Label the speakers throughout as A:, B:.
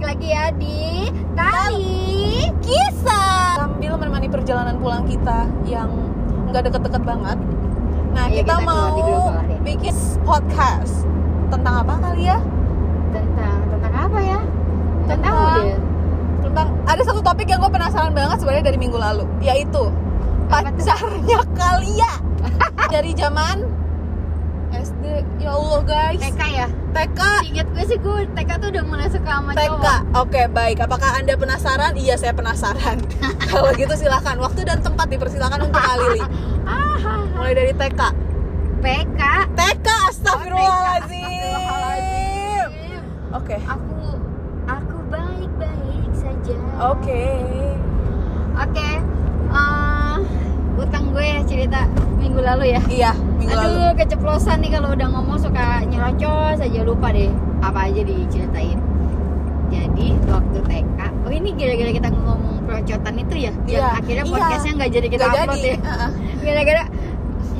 A: saya ya di Tali Kisah.
B: sambil menemani perjalanan pulang kita yang nggak deket-deket banget. Nah,
A: Iya,
B: kita,
A: kita keluar
B: mau
A: di dulu, keluar deh.
B: bikin podcast tentang apa kali ya?
A: Tentang tentang apa ya? Nggak
B: Tentang-
A: tahu deh.
B: Tentang ada satu topik yang gue penasaran banget sebenarnya dari minggu lalu, yaitu
A: Apa tuh?
B: pacarnya Kalia dari zaman SD. Ya Allah guys,
A: TK ya?
B: TK,
A: Ingat gue sih gue TK tuh udah mulai suka sama
B: TK.
A: cowok.
B: Oke baik. Apakah anda penasaran? Iya saya penasaran. Kalau gitu silahkan. Waktu dan tempat dipersilakan untuk Alili.
A: Ah,
B: Mulai dari TK.
A: PK.
B: TK
A: Astagfirullahaladzim.
B: astagfirullahaladzim. Oke.
A: Aku aku baik-baik saja.
B: Oke.
A: Oke. eh, utang gue ya cerita minggu lalu ya.
B: Iya, minggu lalu.
A: Aduh, keceplosan nih kalau udah ngomong suka nyerocos aja lupa deh apa aja diceritain. Jadi waktu TK, oh ini gara-gara kita ngomong perocotan itu ya,
B: Iya,
A: yang akhirnya
B: iya.
A: podcastnya nggak jadi kita
B: Nggak
A: upload
B: jadi.
A: ya,
B: Heeh.
A: gara-gara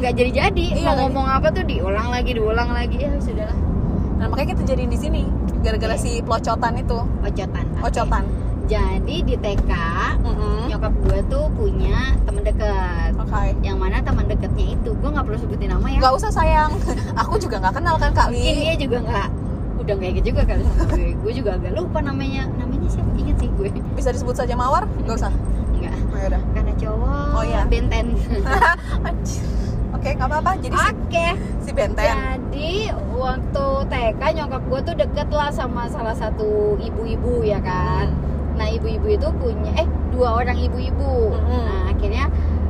A: nggak jadi-jadi
B: Iya,
A: mau
B: nggak
A: ngomong apa tuh diulang lagi, diulang lagi ya sudahlah
B: Nah, makanya kita jadiin di sini gara-gara
A: Oke.
B: si pelocotan itu,
A: ocotan. Oke.
B: ocotan.
A: Jadi di TK
B: Mm-mm.
A: nyokap gue tuh punya temen deket,
B: Oke.
A: yang mana teman deketnya itu gue nggak perlu sebutin nama ya.
B: Gak usah sayang. Aku juga nggak kenal kan Kak
A: mungkin
B: Li.
A: dia juga nggak udah nggak ikut juga kali sama gue gue juga agak lupa namanya namanya siapa inget sih gue
B: Bisa disebut saja Mawar? Gak usah.
A: nggak
B: Oh, ya udah.
A: karena cowok
B: Oh, iya.
A: benten
B: Anjir. Oke, nggak apa-apa. Jadi si,
A: oke
B: si Benten.
A: jadi waktu TK nyokap gue tuh deket lah sama salah satu ibu-ibu ya kan nah ibu-ibu itu punya eh dua orang ibu-ibu
B: Mhm.
A: nah akhirnya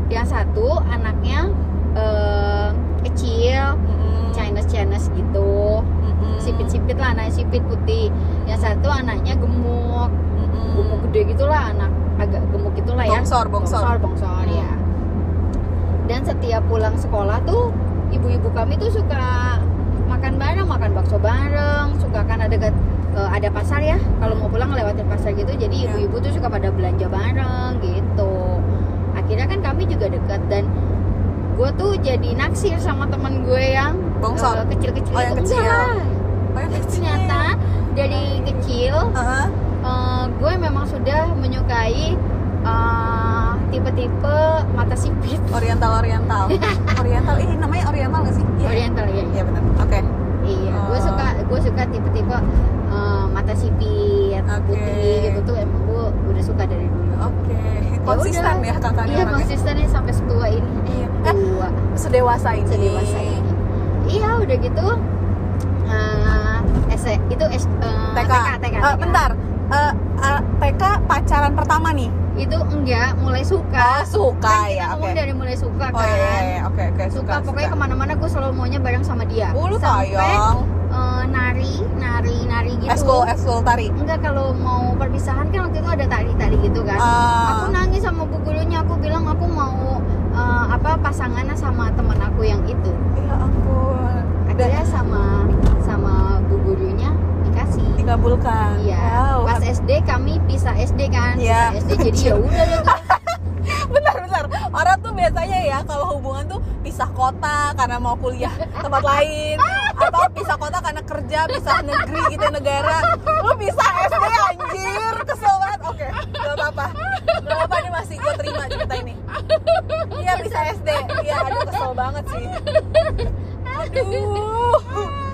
A: yang satu anaknya eh, kecil
B: Mm-mm.
A: Chinese Chinese gitu
B: Mm-mm.
A: sipit-sipit lah anak sipit putih yang satu anaknya gemuk
B: Mm-mm.
A: gemuk gede gitulah anak agak gemuk gitulah ya
B: Bongsor, bongsor.
A: bongsor,
B: Hmm.
A: bongsor, ya dan setiap pulang sekolah tuh ibu-ibu kami tuh suka makan bareng makan bakso bareng suka kan ada dekat eh, ada pasar ya kalau mau pulang ngelewatin pasar gitu jadi
B: Iya.
A: ibu-ibu tuh suka pada belanja bareng gitu akhirnya kan kami juga dekat dan gue tuh jadi naksir sama teman gue yang eh,
B: Bongsor.
A: kecil-kecil
B: Oh, yang
A: itu.
B: kecil.
A: Enggak.
B: Oh, yang kecil.
A: ternyata dari kecil
B: Heeh.
A: Eh, gue memang sudah menyukai eh, tipe-tipe mata sipit
B: Oriental Oriental. Oriental ini namanya Oriental nggak sih?
A: oriental ya
B: Iya benar. Oke.
A: iya gue
B: Oh.
A: suka gue suka tipe-tipe eh, mata sipit
B: Oke. Oh,
A: putih gitu tuh emang gue udah suka dari dulu
B: Oke. Konsisten
A: udah.
B: ya kakaknya
A: iya
B: orangnya.
A: konsistennya sampai setua ini
B: Iya. Eh,
A: tua
B: sedewasa ini.
A: sedewasa ini iya udah gitu eh, S- itu S, eh,
B: TK.
A: TK,
B: Eh, bentar. Eh, eh, TK pacaran pertama nih.
A: itu enggak mulai suka
B: Oh, suka
A: kan kita
B: ya. Oke.
A: ngomong dari mulai suka kan
B: Oh iya, iya, iya. oke oke
A: suka, pokoknya kemana-mana gue selalu maunya bareng sama dia
B: Ulu
A: sampai
B: sayang.
A: eh, nari nari nari gitu
B: Eskul eskul tari.
A: enggak kalau mau perpisahan kan waktu itu ada tari tari gitu kan aku
B: Ah,
A: nangis sama bu gurunya aku bilang aku mau eh, apa pasangannya sama teman aku yang itu
B: ya ampun.
A: akhirnya sama sama bu gurunya dikasih
B: Dikabulkan.
A: Iya,
B: Wow.
A: pas SD kami pisah SD kan,
B: Iya.
A: pisah SD jadi ya udah deh tuh.
B: bentar bentar orang tuh biasanya ya kalau hubungan tuh pisah kota karena mau kuliah tempat lain atau pisah kota karena kerja pisah negeri gitu negara lu pisah SD anjir kesel banget oke gak apa-apa gak apa-apa ini masih gue terima cerita ini iya pisah SD iya aduh kesel banget sih aduh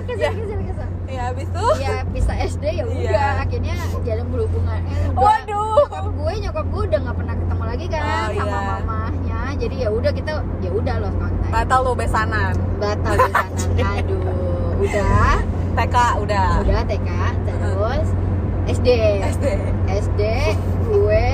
A: Kesel, kesel, kesel.
B: ya abis tuh
A: ya pisah SD ya udah
B: Iya.
A: akhirnya jarang berhubungan eh, udah.
B: Waduh.
A: nyokap gue nyokap gue udah nggak pernah ketemu lagi kan
B: Oh,
A: sama
B: iya.
A: mamahnya jadi ya udah kita ya udah loh kontak
B: batal lu besanan
A: batal di sana aduh udah
B: Ah. TK udah
A: udah TK terus SD
B: SD
A: SD gue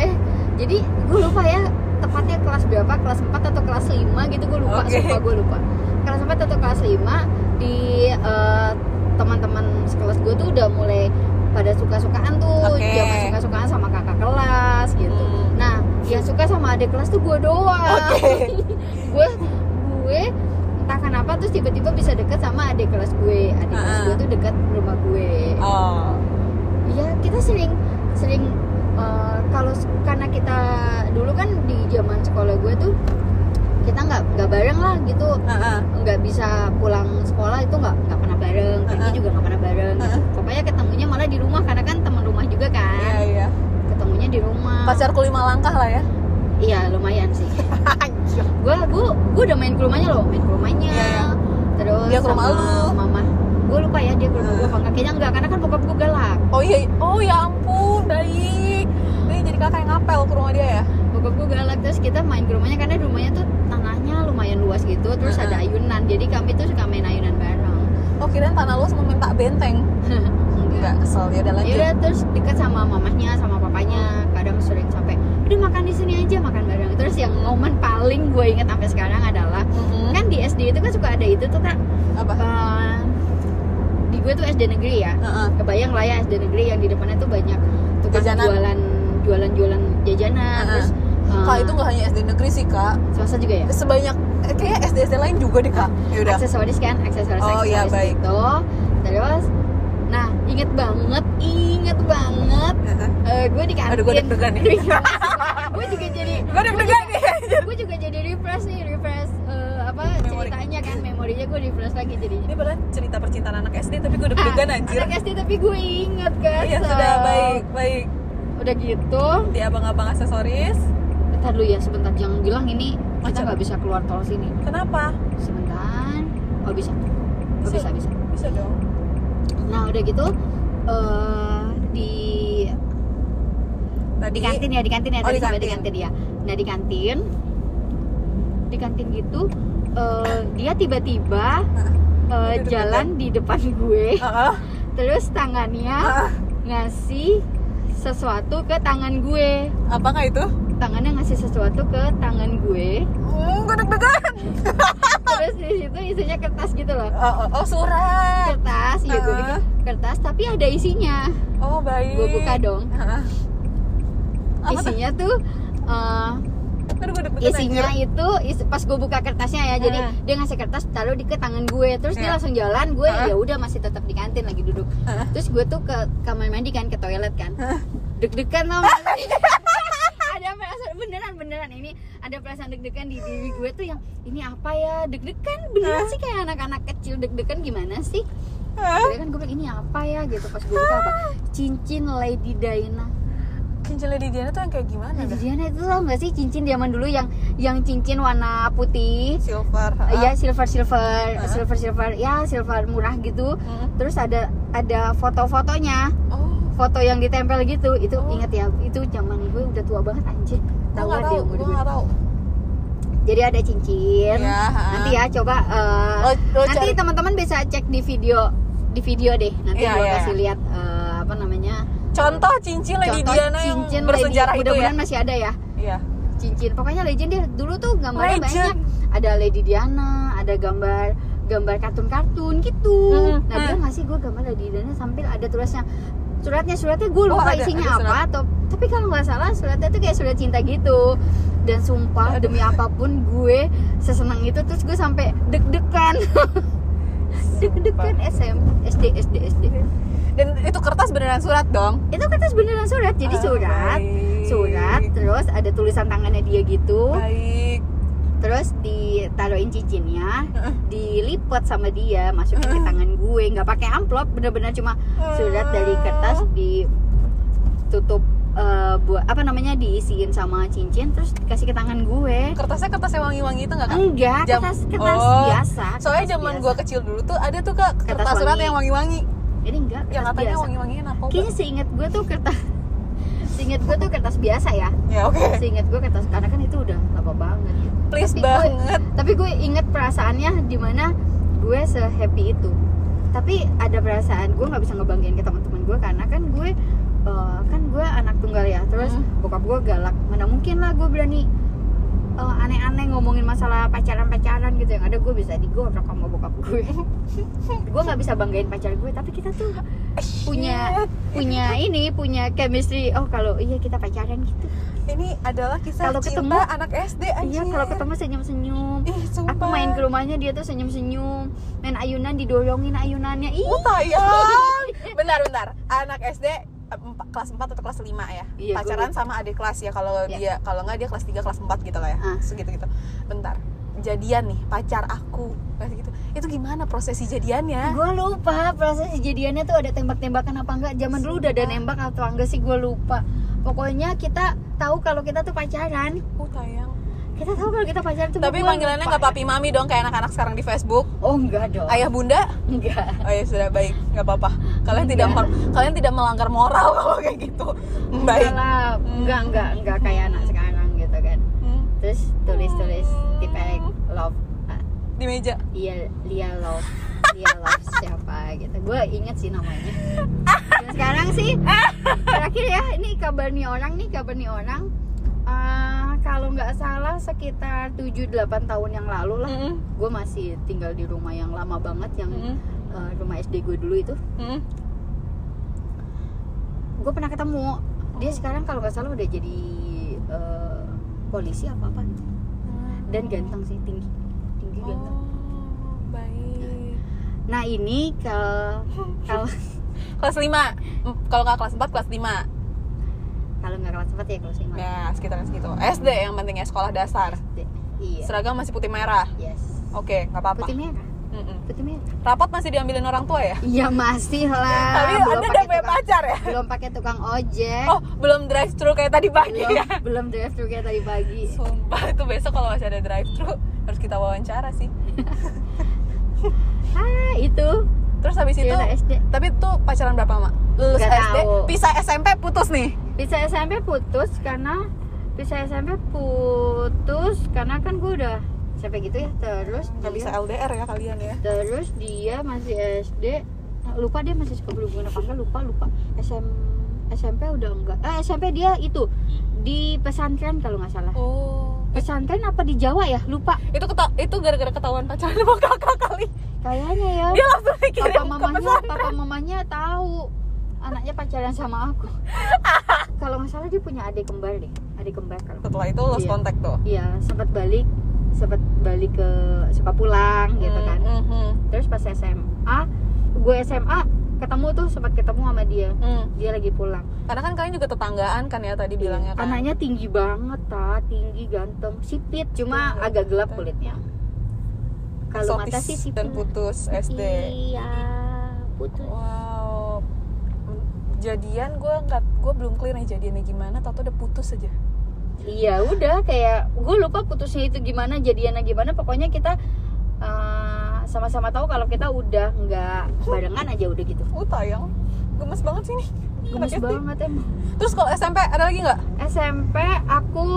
A: jadi gue lupa ya tepatnya kelas berapa kelas 4 atau kelas 5 gitu gue lupa
B: Oke.
A: sumpah gue lupa kelas 4 atau kelas 5 di eh, teman-teman sekelas gue tuh udah mulai pada suka-sukaan tuh
B: Oke.
A: zaman suka-sukaan sama kakak kelas gitu
B: Hmm.
A: nah yang suka sama adik kelas tuh gue doang
B: oke
A: gue gue entah kenapa terus tiba-tiba bisa deket sama adik kelas gue adik kelas
B: Ah.
A: gue tuh deket rumah gue
B: oh
A: Iya kita sering sering eh, kalau s- karena kita dulu kan di zaman sekolah gue tuh kita nggak nggak bareng lah gitu
B: Heeh.
A: nggak bisa pulang sekolah itu nggak nggak pernah bareng pergi
B: Uh-uh.
A: juga nggak pernah bareng
B: Uh-uh.
A: pokoknya ketemunya malah di rumah karena kan teman rumah juga kan
B: iya iya pacar ku lima langkah lah ya
A: Iya lumayan sih. Gue gue gue udah main ke rumahnya loh, main ke rumahnya.
B: Iya, iya.
A: Terus
B: Dia ke rumah
A: sama
B: lu.
A: Mama. Gue lupa ya dia ke rumah gue
B: Hmm.
A: apa enggak. Kayaknya enggak karena kan bokap gue galak.
B: oh iya oh ya ampun baik ini jadi kakak yang ngapel ke rumah dia ya
A: Bokap gue galak terus kita main ke rumahnya karena rumahnya tuh tanahnya lumayan luas gitu. Terus
B: Heeh.
A: ada ayunan. Jadi kami tuh suka main ayunan bareng.
B: oh kirain tanah lu sama minta benteng
A: Enggak.
B: enggak kesel ya udah lanjut
A: Iya terus dekat sama mamahnya sama papanya kadang sering sampai udah makan di sini aja makan bareng terus yang momen paling gue inget sampai sekarang adalah
B: Mhm.
A: kan di SD itu kan suka ada itu tuh kan
B: apa
A: eh, di gue tuh SD negeri ya
B: Heeh.
A: kebayang lah ya SD negeri yang di depannya tuh banyak tukang
B: Jajanan.
A: jualan jualan jualan jajanan
B: Heeh.
A: terus eh,
B: Kak itu nggak hanya SD negeri sih kak
A: swasta juga ya
B: sebanyak eh, kayak SD SD lain juga deh kak Ya yaudah
A: aksesoris kan aksesoris
B: Oh, iya,
A: aksesoris
B: baik.
A: gitu terus nah inget banget inget banget
B: Heeh.
A: eh, gue di kantin
B: aduh gue deg-degan nih
A: gue juga jadi
B: gue deg-degan nih
A: gue juga jadi refresh nih refresh eh, apa
B: Memori.
A: ceritanya kan memorinya gue refresh lagi jadi
B: ini padahal cerita percintaan anak SD tapi gue deg-degan anjir
A: Ah, anak SD tapi gue inget kan
B: Iya
A: so.
B: sudah baik baik
A: udah gitu
B: di abang-abang aksesoris
A: Bentar dulu ya sebentar jangan bilang ini kita
B: Macam.
A: nggak bisa keluar tol sini
B: kenapa
A: sebentar oh bisa oh bisa
B: Bisa.
A: bisa
B: bisa dong
A: nah udah gitu eh di
B: tadi
A: di kantin ya di kantin ya
B: Oh,
A: tadi
B: di
A: sampai di
B: kantin.
A: kantin ya nah di kantin di kantin gitu eh, dia tiba-tiba eh,
B: Deg-degan.
A: jalan di depan gue
B: Heeh.
A: terus tangannya
B: Heeh.
A: ngasih sesuatu ke tangan gue
B: apa nggak itu
A: tangannya ngasih sesuatu ke tangan gue
B: Hmm, gue deg-degan
A: terus di situ isinya kertas gitu loh
B: oh, oh, oh, surat
A: kertas ya gue bikin kertas tapi ada isinya
B: oh baik
A: gue buka dong
B: Heeh. Apa tuh?
A: isinya tuh eh,
B: Aduh, gue deg-degan
A: isinya
B: anjir.
A: itu is- pas gue buka kertasnya ya jadi
B: Ah.
A: dia ngasih kertas taruh di ke tangan gue terus dia
B: Iya.
A: langsung jalan gue
B: Ah.
A: ya udah masih tetap di kantin lagi duduk
B: Ah.
A: terus gue tuh ke kamar mandi kan ke toilet kan deg-degan lah ada perasaan beneran beneran ini ada perasaan deg-degan di diri gue tuh yang ini apa ya deg-degan beneran sih kayak anak-anak kecil deg-degan gimana sih
B: Hah?
A: Akhirnya kan gue bilang ini apa ya gitu pas gue buka apa cincin Lady Diana
B: Cincin Lady Diana tuh yang kayak gimana?
A: Lady
B: dah?
A: Diana itu tau gak sih cincin zaman dulu yang yang cincin warna putih
B: Silver.
A: ya silver silver
B: Ah.
A: silver silver ya silver murah gitu
B: Heeh.
A: terus ada ada foto-fotonya
B: Oh,
A: foto yang ditempel gitu itu
B: Oh.
A: ingat ya itu zaman gue udah tua banget anjir
B: gue
A: Tahuan
B: nggak
A: deh
B: tahu,
A: umur
B: gue
A: gue.
B: nggak tahu.
A: jadi ada cincin
B: Ya, ha.
A: nanti ya coba eh,
B: Lo- lo
A: nanti
B: Oh, cari-
A: teman-teman bisa cek di video di video deh nanti
B: Iya,
A: gue
B: iya.
A: kasih lihat eh, apa namanya
B: Contoh cincin Lady
A: contoh
B: Diana
A: cincin
B: yang
A: Lady,
B: bersejarah itu ya.
A: mudah-mudahan masih ada ya
B: Iya.
A: cincin pokoknya legend dia dulu tuh gambarnya
B: Legend.
A: banyak ada Lady Diana ada gambar gambar kartun-kartun gitu
B: Hmm,
A: nah
B: hmm.
A: dia ngasih gue gambar Lady Diana sambil ada tulisnya suratnya suratnya gue lupa
B: Oh, ada-
A: isinya
B: ada
A: apa
B: surat.
A: atau tapi kalau nggak salah suratnya tuh kayak surat cinta gitu dan sumpah
B: Aduh.
A: demi apapun gue sesenang itu terus gue sampai deg-degan deg-degan SM SD SD SD
B: Dan itu kertas beneran surat dong.
A: itu kertas beneran surat jadi
B: Ah,
A: surat
B: baik.
A: surat terus ada tulisan tangannya dia gitu
B: Baik.
A: terus ditaruhin cincinnya
B: Heeh.
A: dilipat sama dia masukin ke tangan gue nggak pakai amplop bener-bener cuma surat
B: Oh.
A: dari kertas ditutup eh, buat apa namanya diisiin sama cincin terus dikasih ke tangan gue
B: Kertasnya kertas yang wangi-wangi itu nggak kak?
A: enggak
B: Jam-
A: kertas kertas
B: Oh.
A: biasa
B: Soalnya
A: kertas
B: zaman
A: biasa.
B: gue kecil dulu tuh ada tuh kak kertas,
A: Kertas
B: surat
A: wangi.
B: yang wangi-wangi.
A: jadi enggak
B: Yang
A: kertas
B: katanya
A: biasa
B: wangi-wanginya narkoba.
A: kayaknya seingat gue tuh kertas seingat gue tuh kertas biasa ya
B: Ya oke.
A: seingat gue kertas karena kan itu udah lama banget
B: Please
A: Tapi oh, iya. gue-
B: banget.
A: tapi gue inget perasaannya dimana gue sehappy itu tapi ada perasaan gue nggak bisa ngebanggain ke teman-teman gue karena kan gue eh, kan gue anak tunggal ya terus
B: Hmm.
A: bokap gue galak mana mungkin lah gue berani eh, aneh-aneh ngomongin masalah pacaran-pacaran gitu yang ada gue bisa digorok sama bokap gue gue nggak bisa banggain pacar gue tapi kita tuh punya punya ini punya chemistry oh kalau iya kita pacaran gitu
B: Ini adalah kisah
A: Kalau
B: cinta
A: ketemu-
B: anak SD
A: iya
B: anjir.
A: kalau ketemu senyum-senyum
B: Ih, sumpah.
A: aku main ke rumahnya dia tuh senyum senyum main ayunan didorongin ayunannya ih
B: Oh, tayang. Bentar, bentar. Anak SD empa- kelas 4 atau kelas 5 ya.
A: Iya,
B: Pacaran sama adik kelas ya kalau
A: Iya.
B: dia kalau nggak dia kelas 3 kelas 4 gitu lah ya.
A: Ah.
B: Segitu-gitu. Bentar. Jadian nih pacar aku. Kayak gitu. Itu gimana prosesi jadiannya?
A: gue lupa proses kejadiannya tuh ada tembak tembakan apa enggak zaman dulu udah ada nembak atau enggak sih gue lupa pokoknya kita tahu kalau kita tuh pacaran
B: Uh, tayang.
A: kita tahu kalau kita pacaran cuma
B: Tapi
A: gua
B: panggilannya
A: lupa.
B: nggak papi mami dong kayak anak-anak sekarang di Facebook.
A: oh enggak dong
B: Ayah bunda?
A: enggak
B: Oh ya sudah baik, nggak apa-apa. Kalian tidak
A: Enggak.
B: mor- kalian tidak melanggar moral kalau kayak gitu. Baik.
A: enggak lah enggak enggak enggak kayak anak sekarang gitu kan
B: Hmm,
A: terus tulis tulis tipe love Ah,
B: Di meja.
A: dia dia Iya, love dia love siapa gitu gue inget sih namanya Dan sekarang sih terakhir ya ini kabar nih orang nih kabar nih orang Eh, kalau nggak salah sekitar 7-8 tahun yang lalu lah
B: Mm-mm,
A: gue masih tinggal di rumah yang lama banget yang
B: mm-mm,
A: eh, rumah SD gue dulu itu
B: mm-mm.
A: gue pernah ketemu dia sekarang kalau nggak salah udah jadi eh, polisi apa apa dan ganteng sih tinggi tinggi
B: Oh,
A: ganteng
B: baik.
A: nah ini ke kalau
B: Kelas 5. Kalau nggak kelas 4, kelas 5.
A: kalau nggak kelas empat ya kelas lima
B: Ya, sekitaran segitu. SD yang pentingnya sekolah dasar.
A: SD. iya
B: Seragam masih putih merah.
A: yes
B: Oke, nggak apa-apa.
A: putih merah
B: Mm-mm.
A: putih merah
B: Rapot masih diambilin orang tua ya?
A: iya masih lah
B: Tapi Anda udah
A: Ah, pakai
B: punya
A: tukang,
B: pacar ya?
A: belum pakai tukang ojek
B: Oh, belum drive thru kayak tadi pagi
A: belum
B: ya?
A: belum drive thru kayak tadi pagi
B: Sumpah itu besok kalau masih ada drive thru harus kita wawancara sih.
A: ah itu
B: Terus habis itu,
A: Yaudah, SD
B: tapi itu pacaran berapa mak? Lulus
A: Iya, Nggak
B: SD,
A: tahu.
B: pisah SMP putus nih.
A: bisa SMP putus karena bisa SMP putus karena kan gue udah sampai gitu ya terus
B: Gak bisa
A: dia,
B: LDR ya kalian ya?
A: terus dia masih SD Nah, lupa dia masih suka berhubungan apa enggak lupa lupa SM SMP udah enggak eh SMP dia itu di pesantren kalau nggak salah
B: Oh.
A: pesantren apa di Jawa ya lupa
B: Itu keta- itu gara-gara ketahuan pacaran sama kakak kali.
A: kayaknya ya
B: Dia langsung dikirim
A: papa
B: ke
A: mamanya
B: pesantren.
A: papa mamanya tahu anaknya pacaran sama aku kalau nggak salah dia punya adik kembar deh adik kembar kalau
B: Setelah itu lost
A: Iya.
B: kontak tuh.
A: Iya, sempat balik, sempat balik ke suka pulang gitu kan.
B: Mm, mhm,
A: Terus pas SMA, gue SMA ketemu tuh sempat ketemu sama dia.
B: mm.
A: Dia lagi pulang.
B: Karena kan kalian juga tetanggaan kan ya tadi bilangnya
A: Iya.
B: kan.
A: Anaknya tinggi banget, ta, tinggi, ganteng, sipit, cuma
B: Tinggi,
A: agak gelap
B: ganteng.
A: kulitnya. Kalau mata
B: Eksotis
A: sih sipit.
B: dan putus SD.
A: Iya, putus.
B: Wow. Jadian gue nggak gue belum clear nih jadiannya gimana, tau udah putus aja.
A: Iya, udah kayak gue lupa putusnya itu gimana, jadiannya gimana. Pokoknya kita eh, sama-sama tahu kalau kita udah nggak barengan aja udah gitu.
B: Uh tayang, gemes banget sih nih. Anak
A: Gemes
B: SD.
A: banget emang.
B: Terus kalau SMP ada lagi nggak?
A: SMP aku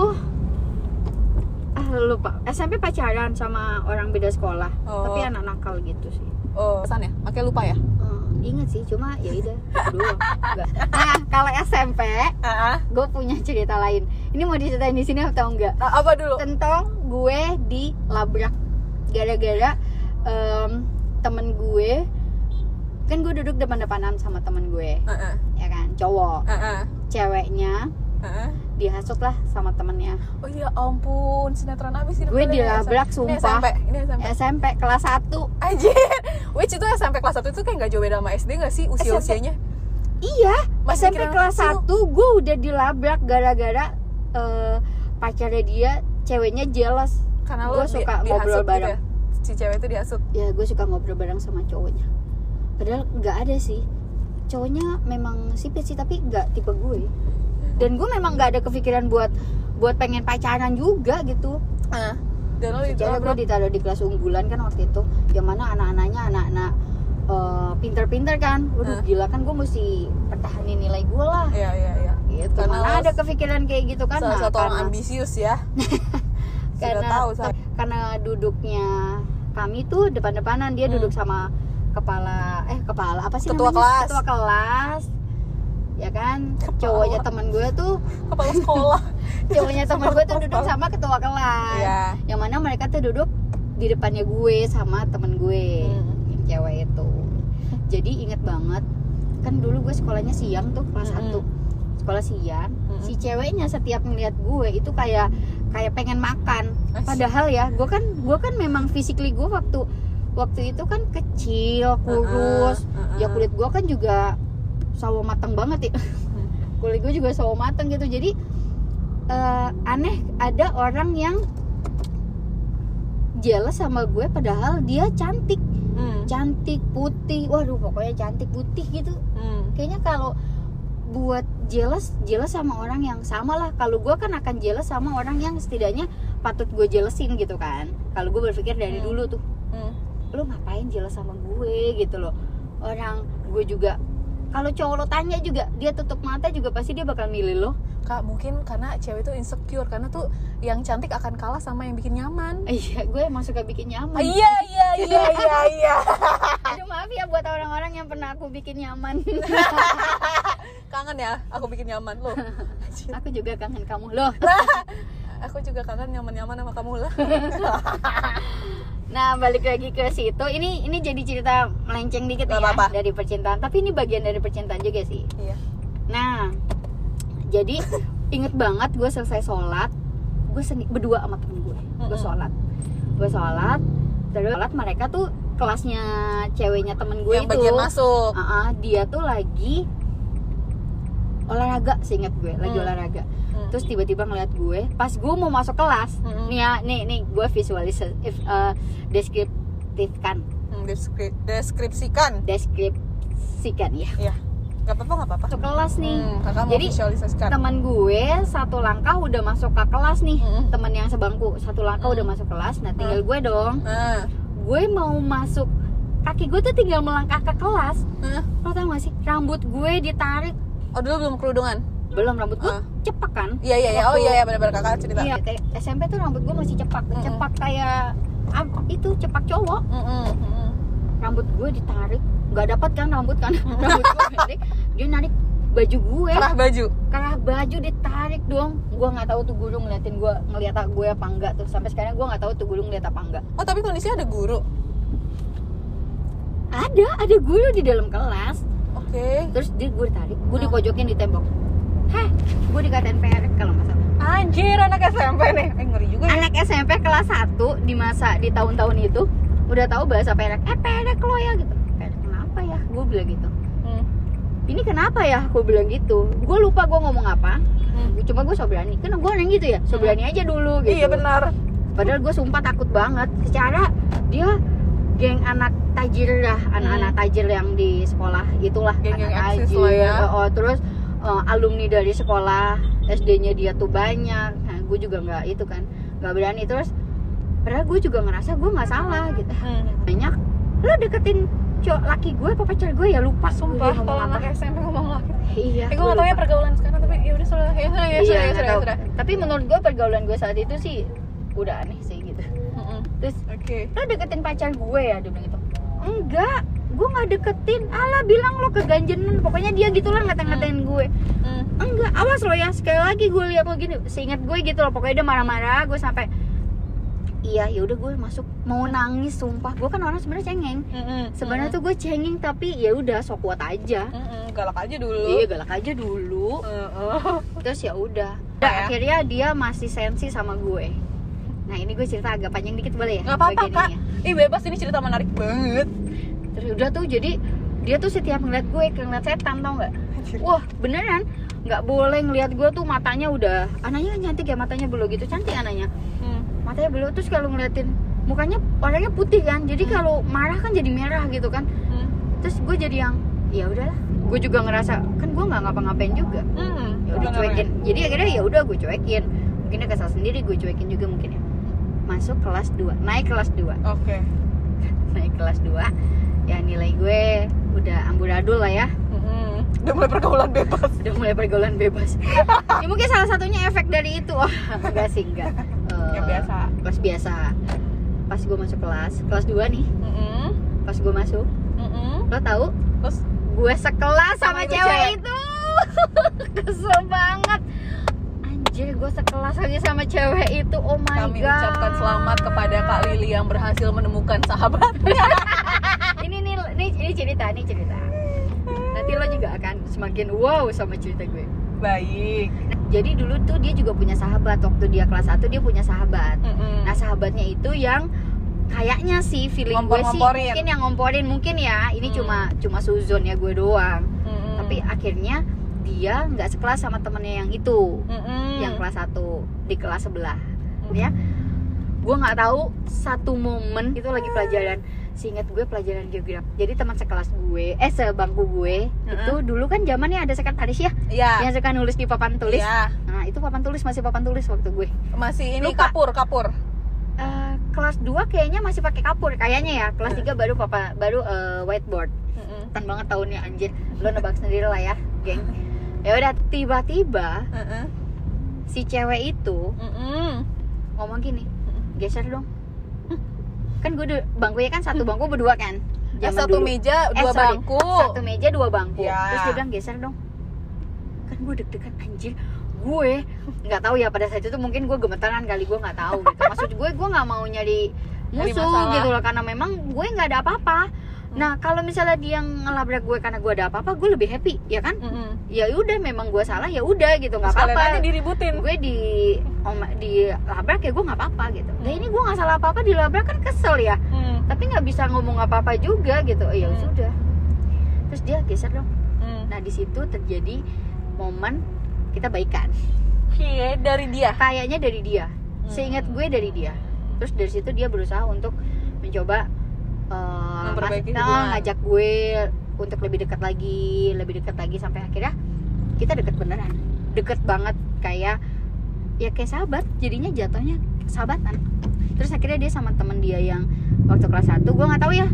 A: ah, lupa. SMP pacaran sama orang beda sekolah,
B: Oh.
A: tapi anak nakal gitu sih.
B: Oh, pesan ya? Makanya lupa ya?
A: Hmm, ingat sih, cuma ya udah itu doang. Enggak. Nah, kalau SMP,
B: Heeh.
A: gue punya cerita lain. Ini mau diceritain di sini atau enggak?
B: Nah, apa dulu?
A: Tentang gue dilabrak gara-gara em, temen gue kan gue duduk depan-depanan sama temen gue
B: Heeh.
A: ya kan cowok
B: Heeh.
A: ceweknya
B: Heeh.
A: dihasut lah sama temennya
B: Oh ya ampun, sinetron abis
A: Gue dilabrak,
B: Ini
A: sumpah.
B: SMP, ini SMP.
A: SMP kelas 1
B: Anjir, which itu SMP kelas 1 itu kayak nggak jauh beda sama SD nggak sih usia-usianya?
A: Iya,
B: Masih
A: SMP
B: kira
A: kelas
B: kecil.
A: 1 gue udah dilabrak gara-gara eh, pacarnya dia ceweknya jealous.
B: Karena lo
A: Gua
B: di-
A: suka
B: dihasut
A: ngobrol
B: gitu
A: bareng.
B: ya? Si cewek itu dihasut.
A: Ya gue suka ngobrol bareng sama cowoknya. Padahal nggak ada sih. Cowoknya memang sipit sih tapi nggak tipe gue. Dan gue memang nggak ada kepikiran buat buat pengen pacaran juga gitu.
B: Heeh. Dan lo
A: Secara
B: dilabrak.
A: gue ditaruh di kelas unggulan kan waktu itu. Yang mana anak-anaknya anak-anak eh, pinter-pinter kan. Waduh
B: Hah.
A: gila kan gue mesti pertahanin nilai gue lah.
B: Iya, iya, iya.
A: gitu
B: Karena
A: mana
B: lo
A: ada kepikiran kayak gitu kan
B: Salah
A: Nah,
B: satu orang
A: karena-
B: ambisius ya. Sudah
A: karena
B: tahu saya.
A: karena duduknya kami tuh depan-depanan dia
B: Hmm.
A: duduk sama kepala eh kepala apa sih
B: Ketua
A: namanya?
B: kelas.
A: ketua kelas ya kan
B: Kepala.
A: cowoknya teman gue tuh
B: Kepala sekolah.
A: Kan. cowoknya teman gue tuh duduk
B: Kepala.
A: sama ketua kelas
B: Iya.
A: yang mana mereka tuh duduk di depannya gue sama temen gue
B: Hmm.
A: yang cewek itu jadi inget banget kan dulu gue sekolahnya siang tuh kelas
B: Mm-mm.
A: 1 sekolah siang
B: Mm-mm.
A: si ceweknya setiap ngeliat gue itu kayak kayak pengen makan
B: Asik.
A: padahal ya gue kan gue kan memang physically gue waktu waktu itu kan kecil kurus ya
B: Heeh, heeh.
A: kulit gue kan juga sawo matang banget ya kulit gue juga sawo matang gitu jadi eh, aneh ada orang yang jealous sama gue padahal dia cantik
B: Hmm.
A: cantik putih waduh pokoknya cantik putih gitu
B: Hmm.
A: kayaknya kalau buat jealous jealous sama orang yang sama lah kalau gue kan akan jealous sama orang yang setidaknya patut gue jelesin gitu kan kalau gue berpikir dari
B: Hmm.
A: dulu tuh
B: Hmm.
A: lu ngapain jelas sama gue gitu loh orang gue juga kalau cowok lo tanya juga dia tutup mata juga pasti dia bakal milih lo
B: Kak, mungkin karena cewek itu insecure karena tuh yang cantik akan kalah sama yang bikin nyaman.
A: iya gue emang suka bikin nyaman
B: Iya, iya, iya, iya, iya.
A: aduh maaf ya buat orang-orang yang pernah aku bikin nyaman
B: Kangen ya, aku bikin nyaman loh. Anjir.
A: aku juga kangen kamu loh
B: Aku juga kangen nyaman-nyaman sama kamu lah.
A: nah balik lagi ke situ ini ini jadi cerita melenceng dikit
B: Gak
A: ya
B: apa-apa.
A: dari percintaan tapi ini bagian dari percintaan juga sih
B: Iya.
A: Nah, jadi inget banget gue selesai sholat, gue seni berdua sama temen gue, gue
B: Mm-mm.
A: sholat, gue sholat, terus sholat mereka tuh kelasnya ceweknya temen gue
B: yang
A: itu,
B: bagian masuk.
A: Ah, ah, dia tuh lagi olahraga, seingat gue, lagi
B: Hmm.
A: olahraga.
B: Hmm.
A: Ah, Terus tiba-tiba ngeliat gue, pas gue mau masuk kelas,
B: Mm-mm.
A: nih ya, nih nih gue visualis, if, eh, deskriptifkan,
B: Hmm, deskri- deskripsikan.
A: deskripsikan ya,
B: Iya. Gak apa-apa, gak apa-apa.
A: masuk kelas nih.
B: Hmm, kakak mau
A: Jadi,
B: visualisasikan.
A: teman gue satu langkah udah masuk ke kelas nih
B: Mm-mm.
A: teman yang sebangku satu langkah
B: Mm.
A: udah masuk kelas nah tinggal gue dong
B: Nah,
A: gue mau masuk kaki gue tuh tinggal melangkah ke kelas
B: nah.
A: lo tau gak sih rambut gue ditarik
B: Oh dulu belum kerudungan?
A: belum rambut gue
B: Ah.
A: cepak kan
B: Iya iya iya. Oh
A: Waktu-
B: iya iya benar-benar kakak cerita.
A: iya kayak SMP tuh rambut gue masih cepak
B: Mm-mm.
A: cepak kayak apa itu cepak cowok
B: Mm-mm, mm-mm.
A: rambut gue ditarik nggak dapat kan rambut kan rambut gue pendek dia narik baju gue
B: Kerah baju.
A: karena baju ditarik dong gua nggak tahu tuh guru ngeliatin gua ngeliat gue apa enggak tuh sampai sekarang gua nggak tahu tuh guru ngeliat apa enggak
B: Oh tapi kondisinya ada guru.
A: ada ada guru di dalam kelas
B: Oke.
A: terus dia gue ditarik gue
B: Hmm.
A: dipojokin di tembok hah gue dikatain perek kalau nggak salah
B: Anjir anak SMP nih. Eh ngeri juga ya.
A: anak SMP kelas 1 di masa di tahun-tahun itu udah tahu bahasa perek eh perek lo ya gitu perek kenapa ya gue bilang gitu
B: Hmm,
A: ini kenapa ya gue bilang gitu gue lupa gue ngomong apa
B: hmm.
A: cuma gue sobrani kan gue orang gitu ya sobrani aja dulu gitu
B: Iya benar.
A: Padahal gue sumpah takut banget. Secara dia geng anak tajir lah, anak-anak tajir yang di sekolah gitulah,
B: Hmm. Geng-geng
A: anak
B: eksis lah ya.
A: Oh, oh, terus eh, alumni dari sekolah SD-nya dia tuh banyak. Nah, gue juga nggak itu kan, nggak berani terus. Padahal gue juga ngerasa gue nggak salah gitu.
B: Hmm.
A: Banyak lo deketin cowok laki gue apa pacar gue ya lupa
B: Sumpah
A: Gue
B: kalau
A: ngomong apa.
B: anak SMP Iya, ngomong laki.
A: Iya.
B: Eh
A: gue
B: gue nggak tahu ya
A: lupa.
B: pergaulan sekarang tapi ya udah sudah ya sudah ya
A: Iya,
B: sudah ya
A: nggak
B: sudah. ya
A: tahu.
B: sudah.
A: Tapi menurut gue pergaulan gue saat itu sih udah aneh sih gitu.
B: Mm-mm.
A: Terus
B: Oke.
A: lo deketin pacar gue ya dia bilang gitu enggak gue nggak deketin alah bilang lo keganjenan pokoknya dia gitulah ngata-ngatain gue
B: Hmm.
A: enggak awas lo ya sekali lagi gue lihat lo gini seingat gue gitu loh pokoknya dia marah-marah gue sampai iya ya udah gue masuk mau nangis sumpah gue kan orang sebenarnya cengeng
B: Mm-mm.
A: sebenarnya tuh gue cengeng tapi ya udah sok kuat aja
B: Mm-mm. galak aja dulu.
A: iya galak aja dulu
B: Heeh.
A: terus ya udah
B: Ya.
A: akhirnya dia masih sensi sama gue nah ini gue cerita agak panjang dikit boleh ya
B: Nggak apa-apa
A: bagian ini
B: kak.
A: ya?
B: Ih bebas ini cerita menarik banget.
A: terus udah tuh jadi dia tuh setiap ngeliat gue kayak ngeliat setan tau nggak wah beneran nggak boleh ngeliat gue tuh matanya udah anaknya cantik ya matanya belum gitu cantik anaknya
B: Hmm.
A: matanya belum terus kalau ngeliatin mukanya warnanya putih kan jadi
B: Hmm.
A: kalau marah kan jadi merah gitu kan
B: Hmm.
A: terus gue jadi yang ya udahlah gue juga ngerasa kan gue nggak ngapa-ngapain juga
B: Hmm.
A: ya udah cuekin jadi akhirnya ya udah gue cuekin mungkin dia kesal sendiri gue cuekin juga mungkin ya masuk kelas 2 naik kelas 2
B: Oke.
A: naik kelas 2 ya nilai gue udah amburadul lah ya
B: Mm-mm. Udah mulai pergaulan bebas.
A: udah mulai pergaulan bebas ya mungkin salah satunya efek dari itu oh, enggak sih enggak Eh,
B: Ya biasa.
A: pas biasa pas gue masuk kelas kelas 2 nih
B: Mm-mm.
A: pas gue masuk
B: Mm-mm.
A: lo tahu
B: Terus
A: gue sekelas sama
B: Sama itu
A: cewek
B: cewek.
A: itu kesel banget anjir gue sekelas lagi sama cewek itu oh my
B: kami
A: god
B: ucapkan selamat kepada Kak Lili yang berhasil menemukan sahabatnya.
A: ini nih ini, ini cerita ini cerita nanti lo juga akan semakin wow sama cerita gue
B: Baik.
A: jadi dulu tuh dia juga punya sahabat waktu dia kelas 1 dia punya sahabat
B: Mm-mm.
A: nah sahabatnya itu yang kayaknya sih feeling gue sih
B: Ngompor-ngomporin.
A: mungkin yang ngomporin mungkin ya ini
B: Hmm.
A: cuma cuma suzon ya gue doang
B: Mm-mm.
A: tapi akhirnya dia nggak sekelas sama temennya yang itu
B: Mm-mm.
A: yang kelas 1 di kelas Ya, sebelah ya gue nggak tahu satu momen itu lagi pelajaran seingat gue pelajaran geografi jadi teman sekelas gue eh sebangku gue
B: Mm-mm.
A: itu dulu kan zamannya ada sekretaris ya
B: Iya.
A: yang suka nulis di papan tulis
B: Iya.
A: nah itu papan tulis masih papan tulis waktu gue
B: Masih ini
A: Lupa.
B: kapur, kapur.
A: Eh, kelas 2 kayaknya masih pakai kapur kayaknya ya kelas 3 baru papa baru eh, whiteboard
B: Mm-mm.
A: tan banget tahunnya anjir lo nebak sendiri lah ya geng ya udah tiba-tiba
B: Mm-mm.
A: si cewek itu
B: Mm-mm.
A: ngomong gini geser dong
B: Mm.
A: kan gue du- bangkunya kan satu bangku berdua kan
B: Eh,
A: Zaman
B: satu
A: dulu.
B: meja,
A: Eh,
B: dua
A: sorry.
B: bangku.
A: satu meja dua bangku
B: Ya.
A: terus dia bilang geser dong kan gue deg-degan anjir gue nggak tahu ya pada saat itu mungkin gue gemetaran kali gue nggak tahu gitu maksud gue gue nggak mau nyari
B: Nyari
A: musuh
B: masalah. Mm.
A: gitu loh karena memang gue nggak ada apa-apa nah kalau misalnya dia ngelabrak gue karena gue ada apa-apa gue lebih happy ya kan
B: Mm-mm.
A: ya udah memang gue salah ya udah gitu nggak
B: Sekalian aja
A: apa-apa
B: diributin.
A: gue di om- dilabrak ya gue nggak apa-apa gitu nah ini gue nggak salah apa-apa dilabrak kan kesel ya
B: Mm.
A: tapi nggak bisa ngomong apa-apa juga gitu Oh, ya
B: Hmm.
A: sudah terus dia geser dong
B: Mm.
A: nah di situ terjadi momen kita baikan
B: Cie, dari dia.
A: kayaknya dari dia seingat gue dari dia terus dari situ dia berusaha untuk mencoba eh,
B: Memperbaiki
A: ngas-
B: hubungan.
A: ngajak gue untuk lebih dekat lagi lebih dekat lagi sampai akhirnya kita deket beneran deket banget kayak ya kayak sahabat jadinya jatuhnya sahabatan terus akhirnya dia sama teman dia yang waktu kelas 1 gue nggak tahu ya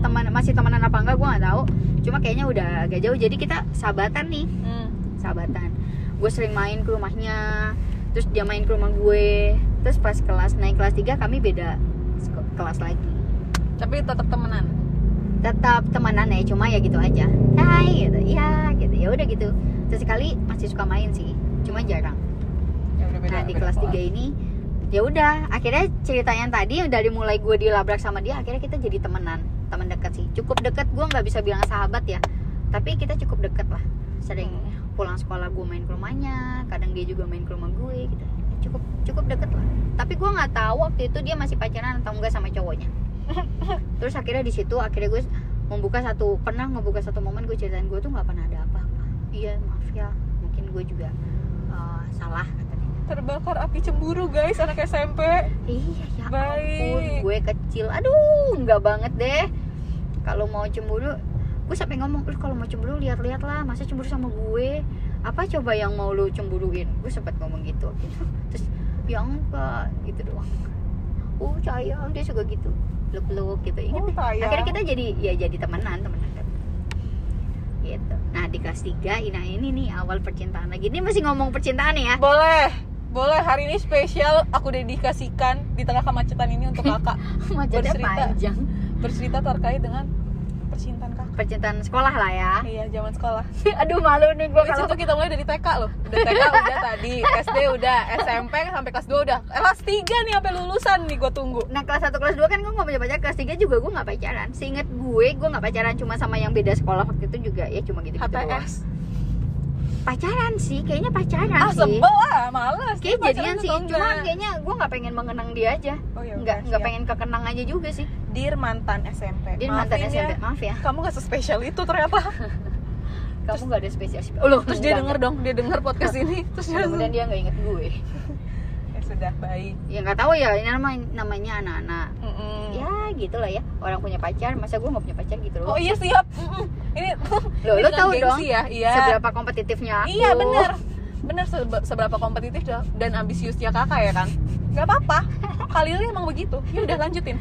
A: teman masih temenan apa enggak gue nggak tahu cuma kayaknya udah agak jauh jadi kita sahabatan nih
B: Mm.
A: sahabatan gue sering main ke rumahnya terus dia main ke rumah gue terus pas kelas naik kelas 3 kami beda seko- kelas lagi
B: Tapi tetap temenan.
A: tetap temenan ya cuma ya gitu aja hai gitu ya gitu ya udah gitu sesekali masih suka main sih cuma jarang
B: Ya, udah beda-
A: nah di
B: beda
A: kelas
B: kelas.
A: 3 ini ya udah akhirnya cerita yang tadi dari mulai gue dilabrak sama dia akhirnya kita jadi temenan teman dekat sih cukup dekat gue nggak bisa bilang sahabat ya tapi kita cukup dekat lah sering
B: Mm.
A: pulang sekolah gue main ke rumahnya kadang dia juga main ke rumah gue gitu Ya, cukup cukup deket lah tapi gue nggak tahu waktu itu dia masih pacaran atau enggak sama cowoknya terus akhirnya di situ akhirnya gue membuka satu pernah ngebuka satu momen gue ceritain gue tuh nggak pernah ada apa-apa iya maaf ya mungkin gue juga eh, salah kata dia
B: Terbakar api cemburu guys anak SMP.
A: iya ya ampun
B: Baik.
A: gue kecil aduh nggak banget deh kalau mau cemburu gue sampai ngomong lu kalau mau cemburu lihat-lihat lah masa cemburu sama gue apa coba yang mau lu cemburuin gue sempat ngomong gitu waktu itu. terus ya enggak gitu doang oh sayang dia suka gitu peluk-peluk gitu ingat
B: Oh,
A: deh.
B: sayang.
A: akhirnya kita jadi ya jadi temenan temenan kan. gitu nah di kelas 3 ini ini nih awal percintaan lagi ini masih ngomong percintaan ya
B: Boleh. Boleh hari ini spesial aku dedikasikan di tengah kemacetan ini untuk kakak
A: macetnya
B: Bercerita.
A: panjang
B: bercerita terkait dengan percintaan kakak.
A: percintaan sekolah lah ya
B: Iya zaman sekolah.
A: aduh malu nih gue
B: Which
A: kalau
B: itu kita mulai dari TK loh. Udah TK udah tadi, SD udah, SMP sampai kelas 2 udah. Eh, Kelas 3 nih sampai lulusan nih gue tunggu.
A: nah kelas 1 kelas 2 kan gue gak punya pacar kelas 3 juga gue gak pacaran seinget gue gue gak pacaran cuma sama yang beda sekolah waktu itu juga ya cuma gitu gitu doang
B: HTS.
A: pacaran sih kayaknya pacaran
B: Ah
A: sih
B: sebel ah, males.
A: kayak jadian
B: Pacaran atau
A: sih cuma
B: enggak?
A: kayaknya gue gak pengen mengenang dia aja
B: Oh, ya
A: nggak
B: udah,
A: nggak
B: siap.
A: pengen kekenang aja juga sih
B: Dear mantan SMP.
A: dia mantan
B: Maafin
A: SMP
B: ya,
A: maaf ya
B: Kamu gak sespesial itu ternyata.
A: kamu gak ada spesial oh, loh,
B: Terus dia denger
A: enggak,
B: dong, dia denger podcast ini. Terus dia
A: enggak. mudah-mudahan
B: langsung,
A: dia gak inget gue
B: ya sudah baik.
A: ya nggak tahu ya ini namanya namanya anak-anak
B: Mm-mm.
A: ya gitu lah ya orang punya pacar masa gue gak punya pacar gitu loh
B: Oh iya siap. Mm-mm. Ini
A: Loh,
B: ini
A: lo
B: bilang
A: tahu
B: gengsi
A: dong
B: ya? Iya.
A: seberapa kompetitifnya aku.
B: Iya bener Bener sebe- seberapa kompetitif da- dan ambisiusnya kakak ya kan Gak apa-apa Khalilnya emang begitu Ya udah lanjutin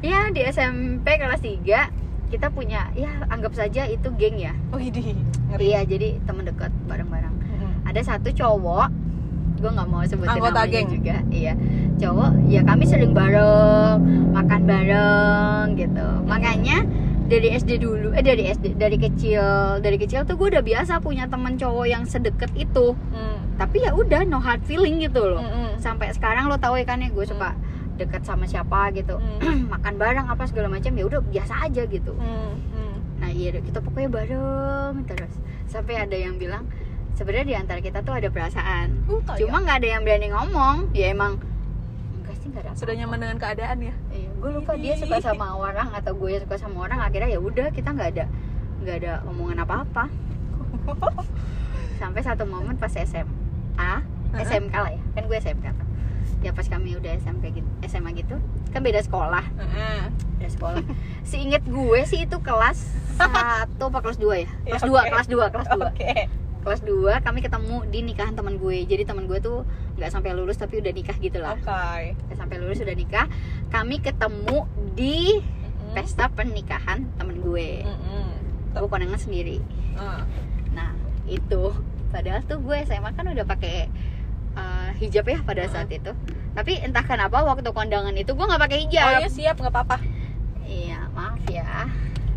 A: Ya di SMP kelas 3 kita punya ya anggap saja itu geng ya.
B: Oh idi
A: Iya jadi teman dekat bareng-bareng.
B: Mm-mm.
A: Ada satu cowok gue nggak mau sebutin
B: Anggota
A: namanya
B: geng.
A: juga. Iya cowok ya kami sering bareng makan bareng gitu. Makanya dari SD dulu eh dari SD dari kecil dari kecil tuh gue udah biasa punya teman cowok yang sedekat itu.
B: Mm.
A: Tapi ya udah no hard feeling gitu loh.
B: Mm-mm.
A: sampai sekarang lo tahu ya kan ya gue suka dekat sama siapa gitu
B: Hmm.
A: makan bareng apa segala macam ya udah biasa aja gitu
B: Mm. Mm.
A: nah iya deh, kita pokoknya bareng terus sampai ada yang bilang sebenarnya di antara kita tuh ada perasaan
B: Uh, tayang.
A: cuma nggak ada yang berani ngomong ya emang enggak sih nggak ada
B: Sudah nyaman dengan keadaan ya
A: iya, gue lupa dia suka sama orang atau gue suka sama orang akhirnya ya udah kita nggak ada nggak ada omongan apa apa sampai satu momen pas SMA SMK lah ya kan gue SMK tuh. ya pas kami udah SMK gitu SMA gitu kan beda sekolah
B: Mm-mm.
A: udah sekolah seinget gue sih itu kelas satu apa kelas dua ya
B: Ya,
A: kelas dua
B: oke.
A: kelas dua kelas dua
B: Oke.
A: kelas dua kami ketemu di nikahan teman gue jadi teman gue tuh nggak sampai lulus tapi udah nikah gitu lah
B: Oke.
A: Nggak sampai lulus udah nikah kami ketemu di
B: Mm-mm.
A: pesta pernikahan temen gue
B: Mm-mm.
A: gue kondangan sendiri
B: Ah.
A: nah itu padahal tuh gue SMA kan udah pakai eh, hijab ya pada saat
B: Hmm.
A: itu tapi entah kenapa waktu kondangan itu gue nggak pakai
B: Oh
A: hijab
B: iya siap nggak apa-apa.
A: iya maaf ya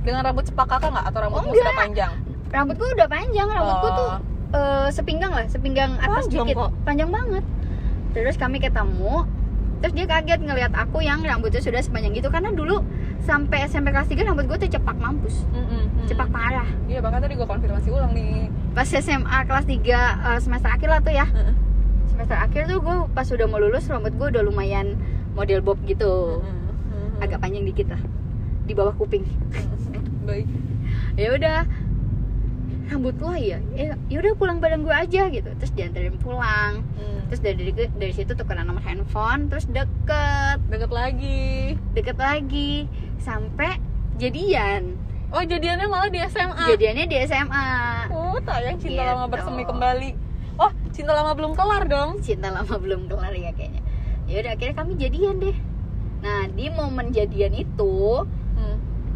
B: Dengan rambut cepak kakak nggak atau rambutmu
A: Oh,
B: sudah panjang?
A: rambut gue udah panjang rambut gue
B: Oh.
A: tuh eh, sepinggang lah sepinggang atas
B: Panjang
A: sedikit
B: kok.
A: panjang banget terus kami ketemu terus dia kaget ngelihat aku yang rambutnya sudah sepanjang gitu karena dulu sampai SMP kelas 3 rambut gue tuh cepak mampus
B: Mm-mm.
A: cepak parah
B: Iya bahkan tadi gue konfirmasi ulang nih.
A: pas SMA kelas 3 eh, semester akhir lah tuh ya
B: Heeh.
A: semester akhir tuh gue pas udah mau lulus rambut gue udah lumayan model bob gitu
B: Hmm. Mm-mm.
A: agak panjang dikit lah di bawah kuping
B: Mm-mm. Baik.
A: ya udah rambut lo ya ya ya udah pulang bareng gue aja gitu terus diantarin pulang
B: Mm.
A: terus dari dari situ tukeran nomor handphone terus deket
B: Deket lagi.
A: deket lagi sampai jadian
B: Oh jadiannya malah di SMA.
A: jadiannya di SMA
B: Oh tayang cinta
A: Gitu.
B: lama bersemi kembali. Oh cinta lama belum kelar dong.
A: cinta lama belum kelar ya kayaknya ya udah akhirnya kami jadian deh nah di momen jadian itu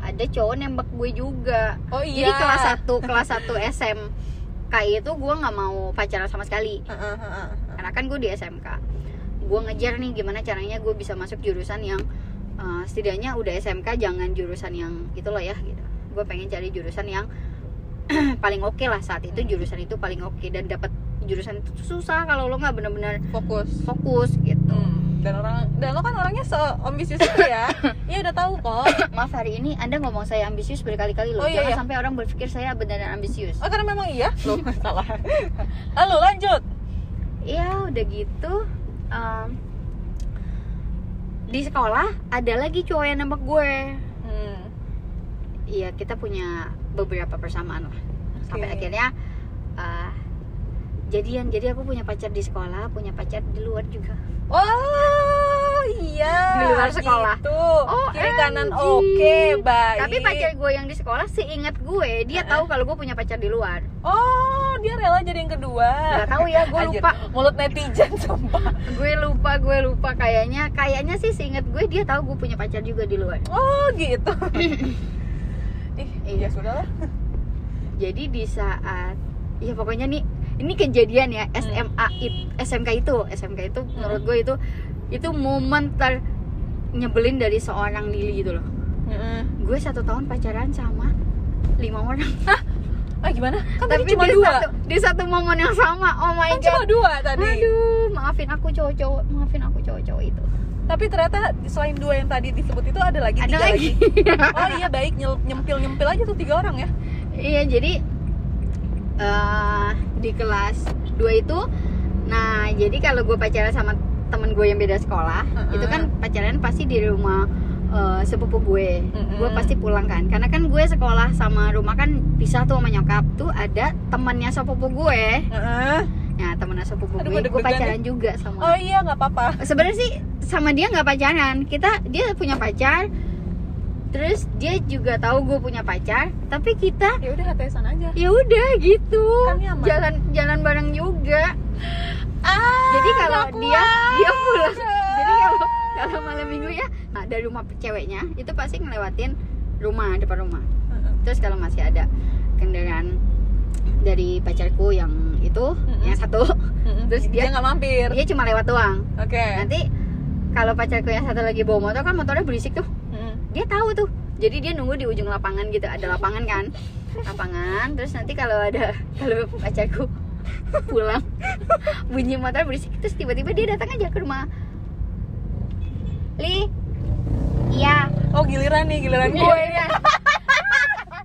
A: ada cowok nembak gue juga
B: Oh
A: Mm. jadi
B: iya.
A: kelas 1 kelas 1 SMK itu gue nggak mau pacaran sama sekali
B: Heeh, heeh, heeh.
A: karena kan gue di SMK gue ngejar nih gimana caranya gue bisa masuk jurusan yang eh, setidaknya udah SMK jangan jurusan yang itu loh ya gitu gue pengen cari jurusan yang paling oke lah saat itu jurusan itu paling oke dan dapat jurusan itu tuh susah kalau lo nggak bener-bener
B: Fokus.
A: fokus gitu
B: Hmm, Dan orang dan lo kan orangnya seambisius itu ya. Iya udah tahu kok.
A: maaf hari ini anda ngomong saya ambisius berkali-kali loh
B: Oh, iya,
A: jangan
B: iya.
A: sampai orang berpikir saya beneran ambisius
B: Oh karena memang iya lo salah. Lalu lanjut.
A: Iya udah gitu em, di sekolah ada lagi cowok yang nembak gue
B: Hmm.
A: Iya kita punya beberapa persamaan lah sampai
B: Oke.
A: akhirnya eh, jadian jadi aku punya pacar di sekolah punya pacar di luar juga
B: Oh iya.
A: Di luar sekolah.
B: Gitu.
A: Oh,
B: Kiri kanan
A: OMG.
B: oke baik.
A: tapi pacar gue yang di sekolah seingat gue dia
B: Eh,
A: tahu kalau gue punya pacar di luar
B: Oh dia rela jadi yang kedua.
A: nggak tahu ya gue
B: Anjir,
A: lupa
B: Mulut netizen sumpah.
A: gue lupa gue lupa kayaknya kayaknya sih seingat gue dia tahu gue punya pacar juga di luar
B: Oh gitu. Ih,
A: Iya.
B: ya sudahlah.
A: jadi di saat ya pokoknya nih ini kejadian
B: Hmm.
A: ya SMA it- SMK itu SMK itu menurut gue itu itu momen ter nyebelin dari seorang Lili gitu loh gue satu tahun pacaran sama lima orang
B: Ah gimana? Kan
A: tapi
B: tadi cuma
A: di
B: dua.
A: satu di satu momen yang sama oh my
B: Kan cuma
A: god
B: dua tadi.
A: aduh maafin aku cowok-cowok maafin aku cowok-cowok itu
B: Tapi ternyata selain dua yang tadi disebut itu ada lagi
A: ada
B: tiga
A: lagi
B: Oh iya baik nyel- nyempil-nyempil aja tuh tiga orang ya.
A: Iya jadi eh di kelas 2 itu Nah jadi kalau gue pacaran sama temen gue yang beda sekolah
B: Mm-mm.
A: Itu kan pacaran pasti di rumah eh, sepupu gue
B: Mm-mm.
A: Gue pasti pulang kan Karena kan gue sekolah sama rumah kan pisah tuh sama nyokap Tuh ada temannya sepupu gue
B: Heeh.
A: Nah temennya sepupu
B: Aduh,
A: gue
B: gua
A: Gue
B: deg-degan
A: pacaran juga sama
B: Oh iya nggak apa-apa.
A: sebenarnya sih sama dia nggak pacaran kita dia punya pacar terus dia juga tahu gue punya pacar tapi kita
B: Ya udah HTSan aja.
A: ya udah gitu
B: Kan nyaman.
A: jalan jalan bareng juga
B: Ah.
A: jadi kalau
B: nggak
A: dia dia pulang
B: kuat.
A: jadi kalau kalau malam minggu ya nah dari rumah ceweknya itu pasti ngelewatin rumah depan rumah
B: Heeh.
A: terus kalau masih ada kendaraan dari pacarku yang itu
B: Mm-mm.
A: yang satu
B: Mm-mm.
A: Terus dia-
B: nggak mampir.
A: dia cuma lewat doang
B: Oke.
A: nanti kalau pacarku yang satu lagi bawa motor kan motornya berisik tuh
B: Heeh.
A: dia tahu tuh jadi dia nunggu di ujung lapangan gitu ada lapangan kan lapangan terus nanti kalau ada kalau pacarku pulang bunyi motor berisik terus tiba-tiba dia datang aja ke rumah li iya
B: Oh giliran nih giliran gue.
A: Iya. kan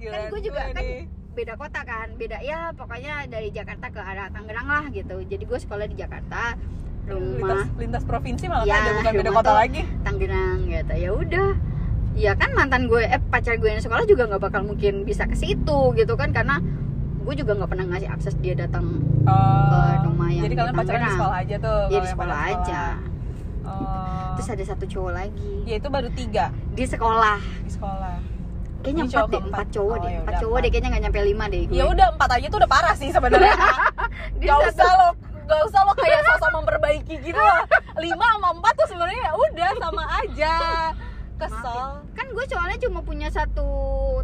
B: Giliran
A: gue juga kan
B: nih.
A: beda kota kan beda ya pokoknya dari Jakarta ke arah Tangerang lah gitu jadi gue sekolah di Jakarta
B: lintas,
A: rumah
B: lintas provinsi malah
A: Ya,
B: ada bukan beda
A: rumah
B: kota
A: tuh-
B: lagi.
A: Tangerang gitu ya udah ya kan mantan gue eh pacar gue yang sekolah juga nggak bakal mungkin bisa ke situ gitu kan karena gue juga nggak pernah ngasih akses dia datang
B: Oh,
A: rumah yang
B: jadi
A: di
B: kalian pacaran
A: Tangerang.
B: di
A: Iya,
B: sekolah aja tuh
A: dia
B: kalau
A: di
B: yang
A: sekolah
B: pada
A: aja
B: Oh,
A: terus ada satu cowok lagi
B: ya itu baru tiga
A: di sekolah
B: di sekolah
A: kayaknya
B: Ini
A: empat
B: cowok
A: deh
B: keempat.
A: empat cowok
B: Oh,
A: deh
B: ya
A: empat
B: udah,
A: cowok deh
B: empat.
A: kayaknya nggak nyampe lima deh gue
B: ya udah empat aja tuh udah parah sih sebenarnya
A: Di
B: gak
A: satu-
B: usah lo gak usah lo kayak sosok memperbaiki gitu lah lima sama empat tuh sebenarnya ya udah sama aja kesel
A: Maaf ya. kan gue soalnya cuma punya satu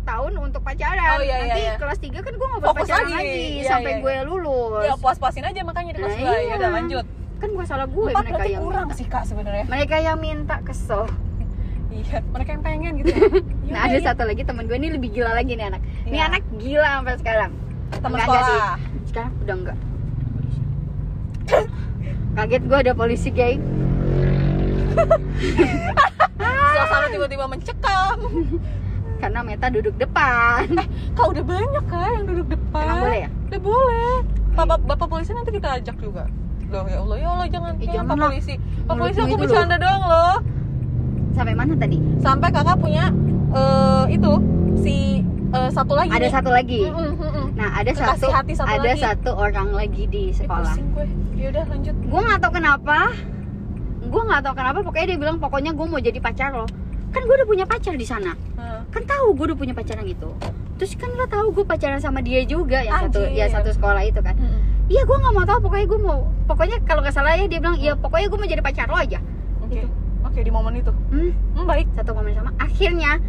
A: tahun untuk pacaran
B: Oh, iya, iya,
A: nanti
B: iya.
A: kelas 3 kan gue nggak bakal
B: Fokus
A: pacaran
B: lagi.
A: lagi,
B: Iya,
A: sampai
B: iya.
A: gue lulus
B: ya puas-puasin aja makanya di kelas
A: Nah,
B: dua ya
A: iya.
B: udah lanjut
A: kan gue salah gue
B: empat
A: mereka
B: berarti
A: yang
B: kurang
A: minta.
B: sih kak sebenarnya
A: mereka yang minta kesel
B: iya mereka yang pengen gitu ya,
A: nah ada satu lagi temen gue ini lebih gila lagi nih anak ini
B: Iya.
A: anak gila sampai sekarang
B: teman
A: Enggak, enggak
B: sekolah
A: sih. sekarang udah enggak kaget gue ada polisi gay
B: suasana tiba-tiba mencekam
A: karena Meta duduk depan
B: kak udah banyak kak yang duduk depan
A: Emang boleh ya?
B: udah boleh bapak bapak polisi nanti kita ajak juga loh ya allah ya allah jangan,
A: Eh,
B: jangan
A: jangan
B: pak
A: lah.
B: polisi pak
A: Mulut
B: polisi
A: lu
B: aku
A: itu loh.
B: bercanda doang loh
A: sampai mana tadi
B: sampai kakak punya eh, itu si eh, satu lagi
A: ada
B: nih.
A: satu lagi
B: Mm-mm, mm-mm.
A: nah ada
B: Kekasih
A: satu,
B: hati satu
A: ada
B: lagi.
A: satu orang lagi di
B: Ih,
A: sekolah
B: pusing gue yaudah lanjut
A: gue nggak tahu kenapa gue nggak tahu kenapa pokoknya dia bilang pokoknya gue mau jadi pacar lo kan gue udah punya pacar di sana
B: Nah,
A: kan tahu gue udah punya pacaran gitu terus kan lo tahu gue pacaran sama dia juga yang satu
B: Anjir.
A: ya satu sekolah itu kan
B: mm-mm.
A: iya gue nggak mau tahu pokoknya gue mau pokoknya kalau nggak salah ya dia bilang iya pokoknya gue mau jadi pacar lo aja
B: oke
A: Gitu.
B: oke di momen itu
A: hmm,
B: Hmm, baik
A: satu momen sama akhirnya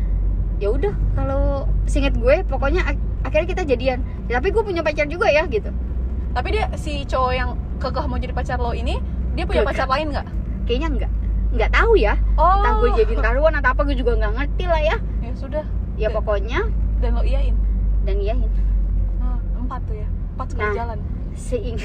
A: ya udah kalau singkat gue pokoknya ak- akhirnya kita jadian Ya, tapi gue punya pacar juga ya gitu
B: tapi dia si cowok yang kekeh mau jadi pacar lo ini dia punya
A: Kekeh.
B: pacar lain nggak
A: kayaknya nggak nggak tahu ya
B: oh
A: entah gue jadi taruhan atau apa gue juga nggak ngerti lah ya
B: ya sudah
A: ya pokoknya
B: dan lo iyain
A: dan iya, iyain
B: Nah, empat tuh ya empat sekali
A: Nah.
B: jalan
A: seing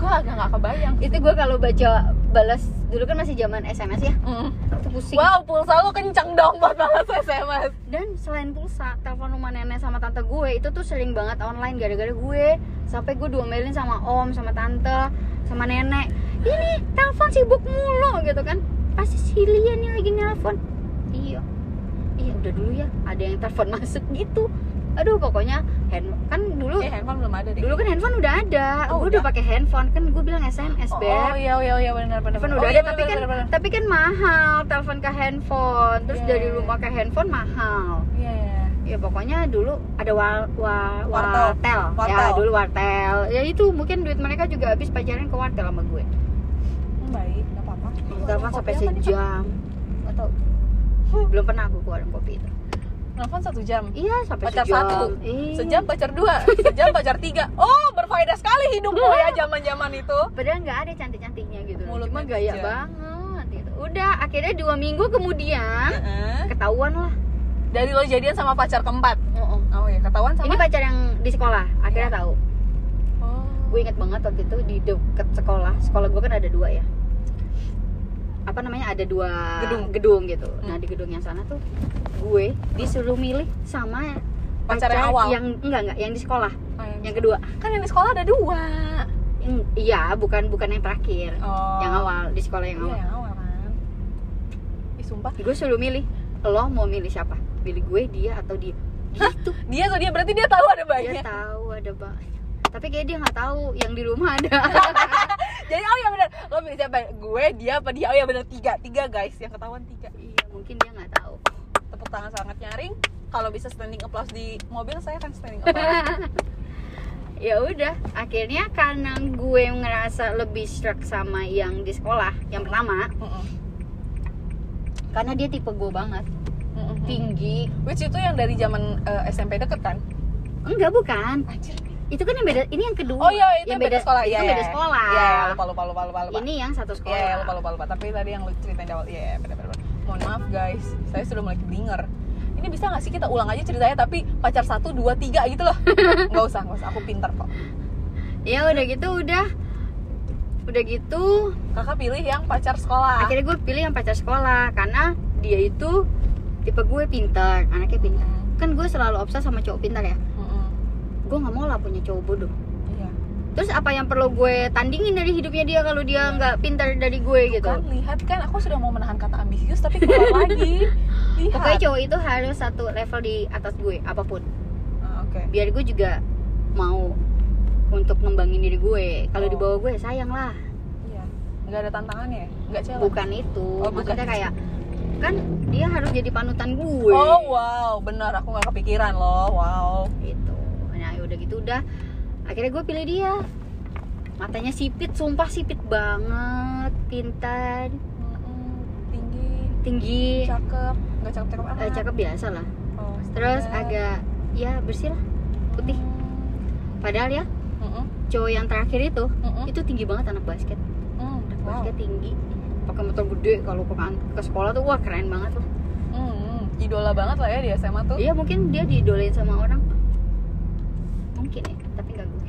B: gue agak nggak kebayang
A: itu gue kalau baca balas dulu kan masih zaman sms ya
B: Mm.
A: itu pusing
B: wow pulsa lo kencang dong buat balas sms
A: dan selain pulsa telepon rumah nenek sama tante gue itu tuh sering banget online gara-gara gue sampai gue diomelin sama om sama tante sama nenek ini telepon sibuk mulu gitu kan pasti si Lia nih lagi nelpon iya iya udah dulu ya ada yang telepon masuk gitu aduh pokoknya hand kan dulu
B: eh handphone belum ada deh
A: dulu kan handphone udah ada
B: Oh,
A: gue udah
B: udah.
A: pakai handphone kan gue bilang sms
B: oh,
A: beb
B: oh iya iya iya benar benar
A: handphone
B: benar.
A: udah ada
B: Oh, iya,
A: tapi
B: benar,
A: kan
B: benar, benar.
A: tapi kan mahal telepon ke handphone terus
B: Iya.
A: dari rumah ke handphone mahal
B: iya iya
A: ya pokoknya dulu ada war, war,
B: Wartel.
A: wartel. ya
B: Wartel.
A: dulu wartel ya itu mungkin duit mereka juga habis pacaran ke wartel sama gue
B: Hmm, baik nggak apa apa
A: telepon sampai sejam nggak tahu belum pernah aku ke warung kopi itu
B: telepon satu jam
A: iya sampai
B: Pacar
A: sejam
B: satu.
A: Iya.
B: sejam pacar dua sejam pacar tiga oh berfaedah sekali hidupmu ya zaman zaman itu
A: padahal nggak ada cantik cantiknya gitu
B: Mulutnya
A: cuma gaya
B: aja.
A: banget gitu udah akhirnya dua minggu kemudian
B: Heeh.
A: ketahuan lah
B: dari lo jadian sama pacar keempat
A: Oh, oh.
B: oh iya ketahuan sama
A: ini pacar yang di sekolah akhirnya
B: Iya.
A: tahu
B: oh.
A: gue inget banget waktu itu di deket sekolah sekolah gue kan ada dua ya apa namanya ada dua
B: Gedung.
A: gitu nah
B: Hmm.
A: di gedung yang sana tuh gue disuruh milih sama
B: Pacar yang awal?
A: yang enggak enggak yang di sekolah
B: Oh, yang-
A: yang kedua
B: kan yang di sekolah ada dua
A: Yang- iya bukan bukan yang terakhir
B: oh.
A: yang awal di sekolah yang
B: iya
A: awal
B: yang awal kan Ih, sumpah
A: gue suruh milih lo mau milih siapa milih gue dia atau dia gitu
B: dia tuh dia berarti dia tahu ada
A: dia
B: banyak
A: tahu ada banyak tapi kayak dia nggak tahu yang di rumah ada
B: jadi oh ya benar lo milih siapa gue dia apa dia oh ya benar tiga tiga guys yang ketahuan tiga
A: iya mungkin dia nggak tahu
B: tepuk tangan sangat nyaring kalau bisa standing applause di mobil saya akan standing applause
A: ya udah akhirnya karena gue ngerasa lebih struck sama yang di sekolah yang pertama
B: Mm-mm.
A: karena dia tipe gue banget
B: Mm-mm.
A: tinggi
B: which itu yang dari zaman eh, SMP deket kan
A: enggak bukan
B: Anjir.
A: itu kan yang beda ini yang kedua
B: oh iya itu
A: yang
B: beda, sekolah
A: itu
B: Iya,
A: beda
B: iya.
A: sekolah
B: iya iya, lupa lupa lupa lupa lupa
A: ini yang satu
B: Iya,
A: sekolah
B: iya, lupa, lupa, lupa. Tapi tadi yang lu ceritain di awal, iya, iya, benar, benar. benar. Mohon maaf guys, saya sudah mulai keblinger. Ini bisa nggak sih kita ulang aja ceritanya, tapi pacar satu, dua, tiga gitu loh. Nggak usah, nggak usah. Aku pinter kok.
A: ya udah gitu udah udah gitu
B: Kakak pilih yang pacar sekolah.
A: akhirnya gue pilih yang pacar sekolah karena dia itu tipe gue pintar anaknya pintar
B: Hmm,
A: kan gue selalu obses sama cowok pintar ya
B: hmm, hmm.
A: gue nggak mau lah punya cowok bodoh
B: Iya.
A: terus apa yang perlu gue tandingin dari hidupnya dia kalau dia nggak pintar dari gue
B: Tuh
A: gitu
B: Kan lihat kan, aku sudah mau menahan kata ambisius, tapi keluar lagi. Lihat.
A: pokoknya cowok itu harus satu level di atas gue apapun
B: Ah, Oke.
A: biar gue juga mau untuk ngembangin diri gue kalau
B: Oh.
A: di bawah gue sayang lah
B: Iya. Nggak ada tantangannya. ya? nggak cewek
A: bukan itu
B: Oh, bukan.
A: maksudnya kayak kan dia harus jadi panutan gue
B: oh wow benar aku nggak kepikiran loh wow
A: gitu nah udah gitu udah akhirnya gue pilih dia matanya sipit sumpah sipit banget pintar
B: Mm-mm, tinggi
A: tinggi
B: cakep nggak Ah, cakep cakep amat
A: eh, cakep biasa lah
B: Oh,
A: terus
B: standar.
A: agak ya bersih lah putih. padahal ya
B: Mm-mm,
A: cowok yang terakhir itu
B: mm-mm,
A: itu tinggi banget anak basket
B: mm, wow.
A: basket tinggi pakai motor gede kalau ke, kan- ke sekolah tuh wah keren banget lah
B: Mm, idola banget lah ya di SMA tuh
A: iya mungkin dia diidolain sama orang mungkin ya tapi nggak gue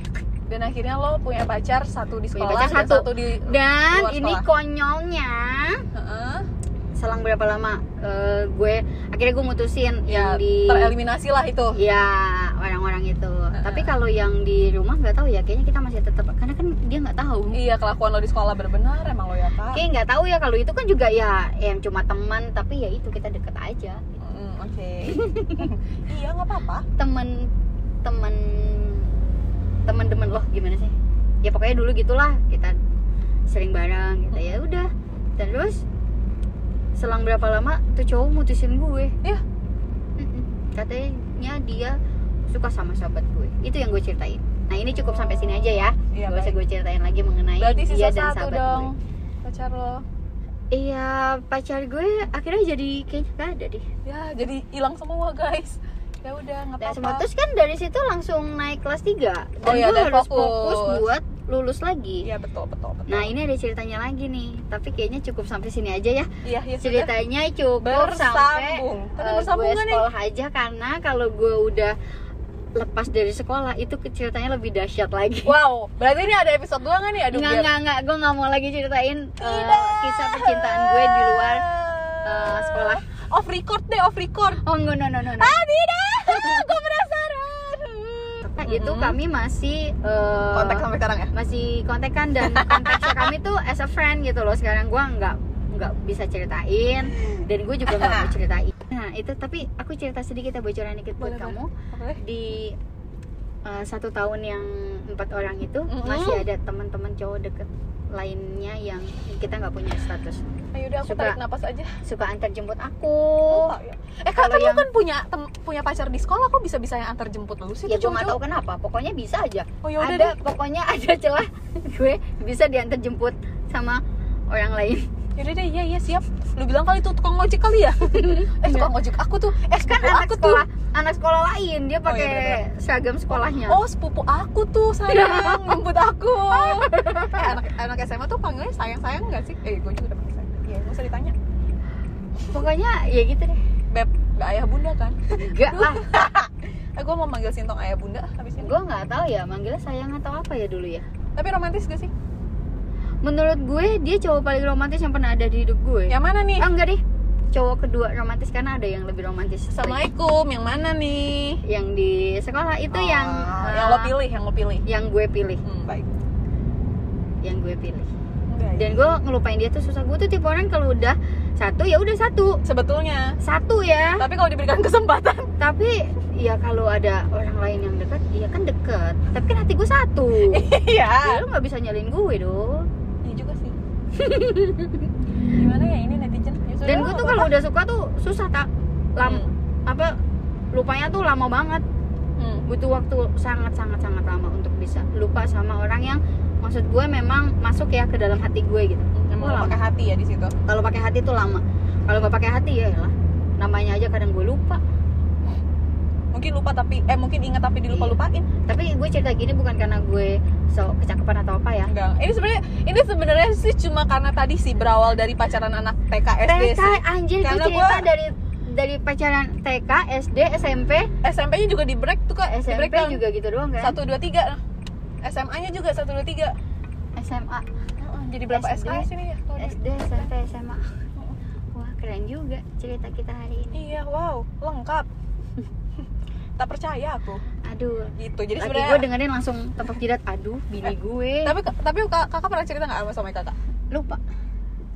B: dan akhirnya lo punya pacar satu di
A: Punya
B: sekolah
A: pacar
B: dan
A: satu.
B: di
A: dan
B: Luar
A: ini
B: sekolah.
A: konyolnya
B: Heeh.
A: selang berapa lama eh, gue akhirnya gue mutusin
B: ya
A: yang di
B: tereliminasi lah itu
A: ya orang-orang itu tapi kalau yang di rumah nggak tahu ya kayaknya kita masih tetap karena kan dia nggak tahu
B: iya kelakuan lo di sekolah benar-benar emang lo ya pak
A: Oke nggak tahu ya kalau itu kan juga ya yang cuma teman tapi ya itu kita deket aja
B: Mm, oke iya nggak apa-apa
A: Nah, temen temen temen temen loh gimana sih ya pokoknya dulu gitulah kita sering bareng gitu
B: Hmm.
A: ya udah terus selang berapa lama tuh cowok mutusin gue
B: Yah.
A: Mm-mm. katanya dia suka sama sahabat gue itu yang gue ceritain nah ini cukup sampai sini aja ya
B: iya
A: gak usah
B: baik.
A: gue ceritain lagi mengenai
B: berarti
A: dia
B: sisa
A: dan
B: satu
A: sahabat
B: dong
A: gue
B: pacar lo
A: iya pacar gue akhirnya jadi kayaknya gak ada deh
B: ya jadi hilang semua guys ya udah nggak
A: Dan semua
B: apa-apa
A: terus kan dari situ langsung naik kelas 3 Dan
B: Oh iya,
A: gue
B: dan
A: harus
B: fokus.
A: fokus buat lulus lagi
B: iya betul betul betul
A: Nah ini ada ceritanya lagi nih Tapi kayaknya cukup sampai sini aja ya
B: iya ya sudah
A: Ceritanya cukup sampai
B: bersambung tapi
A: eh,
B: bersambung
A: gue
B: kan ya, nggak nih
A: sekolah aja Karena kalau gue udah lepas dari sekolah Itu ke- ceritanya lebih dahsyat lagi
B: wow berarti ini ada episode dua nggak nih aduh
A: Nggak,
B: biar-
A: nggak, nggak Gue nggak mau lagi ceritain eh,
B: Tidak.
A: kisah percintaan gue di luar eh, sekolah.
B: off record deh off record
A: Oh enggak, no, no, no, no.
B: ah tidak gue penasaran
A: Nah, Itu
B: Mm-mm.
A: kami masih eh,
B: kontak sampai sekarang ya
A: masih kontekan dan konteksnya kami tuh as a friend gitu loh sekarang gua nggak nggak bisa ceritain dan gue juga nggak mau ceritain nah itu tapi aku cerita sedikit ya bocoran dikit buat
B: Boleh,
A: kamu di uh, satu tahun yang empat orang itu
B: Mm-mm.
A: masih ada teman-teman cowok deket lainnya yang kita nggak punya status
B: ayo udah aku
A: Suka.
B: tarik napas aja
A: suka antar jemput aku
B: Oh, ya. eh kan
A: Kalau
B: kamu
A: yang-
B: kan punya tem- punya pacar di sekolah kok bisa bisa yang antar jemput lu sih
A: ya
B: itu
A: gue nggak
B: cowok-cowok?
A: tahu kenapa pokoknya bisa aja
B: oh ya udah
A: ada
B: deh
A: pokoknya ada celah gue bisa diantar jemput sama orang lain
B: Yaudah deh, iya iya siap. Lu bilang kali itu tukang ojek kali ya? eh tukang ojek aku tuh,
A: kan
B: eh sepupu
A: Iya. anak
B: aku tuh.
A: sekolah anak sekolah lain dia
B: iya,
A: pakai
B: bener-bener.
A: seragam sekolahnya
B: Oh sepupu aku tuh sayang, jemput aku. eh anak anak SMA tuh panggilnya sayang sayang nggak sih? Eh gue juga udah panggil sayang. Iya nggak usah ditanya.
A: pokoknya ya gitu deh
B: Beb, nggak ayah bunda kan?
A: enggak lah
B: Eh gue mau manggil sintong ayah bunda habis ini.
A: gue nggak tahu ya manggilnya sayang atau apa ya dulu ya
B: Tapi romantis gak sih?
A: menurut gue dia cowok paling romantis yang pernah ada di hidup gue
B: Yang mana nih?
A: ah enggak deh cowok kedua romantis karena ada yang lebih romantis
B: Assalamualaikum, yang mana nih?
A: yang di sekolah itu
B: Oh,
A: yang
B: yang
A: eh,
B: lo pilih, yang lo pilih.
A: yang gue pilih
B: Hmm, baik.
A: yang gue pilih
B: Enggak, ya.
A: dan gue ngelupain dia tuh susah gue tuh tipe orang kalau udah satu ya udah satu
B: Sebetulnya,
A: satu ya
B: tapi kalau diberikan kesempatan
A: tapi ya kalau ada orang lain yang dekat ya kan deket tapi kan hati gue satu
B: Iya.
A: ya lu nggak bisa nyalin gue dong
B: Iya juga sih. Gimana ya ini netizen? Ya sudah,
A: dan gue tuh
B: apa-apa.
A: kalau udah suka tuh susah tak lam
B: Hmm.
A: apa lupanya tuh lama banget
B: Hmm.
A: butuh waktu sangat sangat sangat lama untuk bisa lupa sama orang yang maksud gue memang masuk ya ke dalam hati gue gitu
B: Emang
A: Gua
B: lo
A: lama.
B: pakai hati ya di situ.
A: kalau pakai hati tuh lama kalau nggak pakai hati ya lah namanya aja kadang gue lupa
B: Mungkin lupa tapi eh mungkin ingat tapi dilupa lupain.
A: tapi gue cerita gini bukan karena gue so kecakepan atau apa ya
B: Enggak. Ini sebenarnya ini sebenarnya sih cuma karena tadi sih berawal dari pacaran anak TK SD
A: TK
B: sih.
A: anjir gue
B: Karena
A: cerita
B: gua-
A: dari dari pacaran TK, SD, SMP,
B: SMP-nya juga di break tuh kak. di break
A: SMP juga gitu doang kan?
B: Satu dua tiga. SMA-nya juga satu dua tiga.
A: SMA,
B: Jadi berapa
A: SD.
B: SD sini ya? Kalau di-
A: SD, SMP, SMA. Wah keren juga cerita kita hari ini.
B: Iya, wow, lengkap. tak percaya aku.
A: Aduh.
B: Gitu. Jadi
A: Lagi gue
B: sebenarnya Eh,
A: dengerin langsung tempat jidat. Aduh, bini gue
B: tapi tapi kakak kakak pernah cerita nggak sama sama kakak?
A: lupa.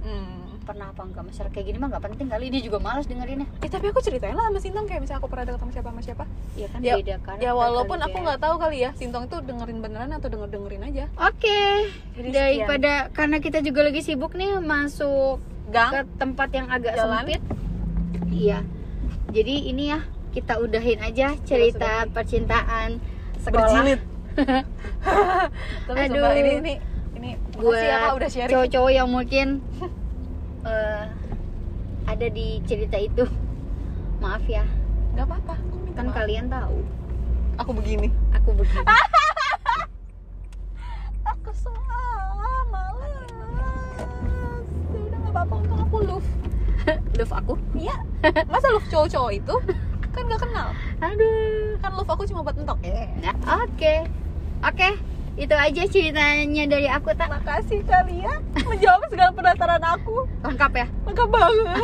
B: Hmm.
A: pernah apa enggak mesra kayak gini mah nggak penting kali dia juga malas dengerinnya
B: Eh, tapi aku ceritain lah sama Sintong kayak misalnya aku pernah deket sama siapa sama siapa.
A: ya kan
B: Ya,
A: beda karakter
B: Ya walaupun
A: kali
B: aku
A: ya.
B: nggak tahu kali ya Sintong itu dengerin beneran atau denger dengerin aja.
A: Oke,
B: Jadi
A: daripada karena kita juga lagi sibuk nih masuk ke
B: Gang.
A: tempat yang agak
B: Jalan.
A: sempit. Iya. Jadi ini ya kita udahin
B: Iya,
A: aja cerita percintaan sekolah
B: Berjilid. Tapi sumpah
A: Aduh.
B: ini ini ini
A: buat
B: makasih ya Kak udah sharing.
A: cowok-cowok yang mungkin eh, ada di cerita itu. Maaf ya,
B: Gak apa-apa. Aku minta
A: kan
B: maaf.
A: kalian tahu
B: Aku begini.
A: aku begini.
B: Aku salah malas. Ya udah gak apa-apa untung aku love.
A: Love aku.
B: Iya. Masa love cowok-cowok itu kan gak kenal.
A: Aduh.
B: Kan love aku cuma buat entok.
A: Nah, Oke. Oke, itu aja ceritanya dari aku tak
B: Makasih kalian menjawab segala penasaran aku.
A: lengkap ya.
B: Lengkap banget.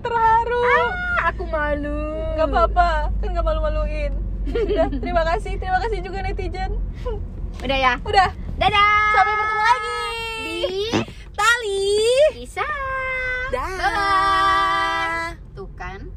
B: Terharu.
A: Ah, aku malu.
B: Gak apa-apa, kan gak malu-maluin. Sudah, terima kasih. Terima kasih juga netizen.
A: Udah ya.
B: Udah,
A: Dadah.
B: sampai bertemu lagi.
A: Di
B: Tali.
A: kisah.
B: Dah.
A: Bye-bye. Tuh kan.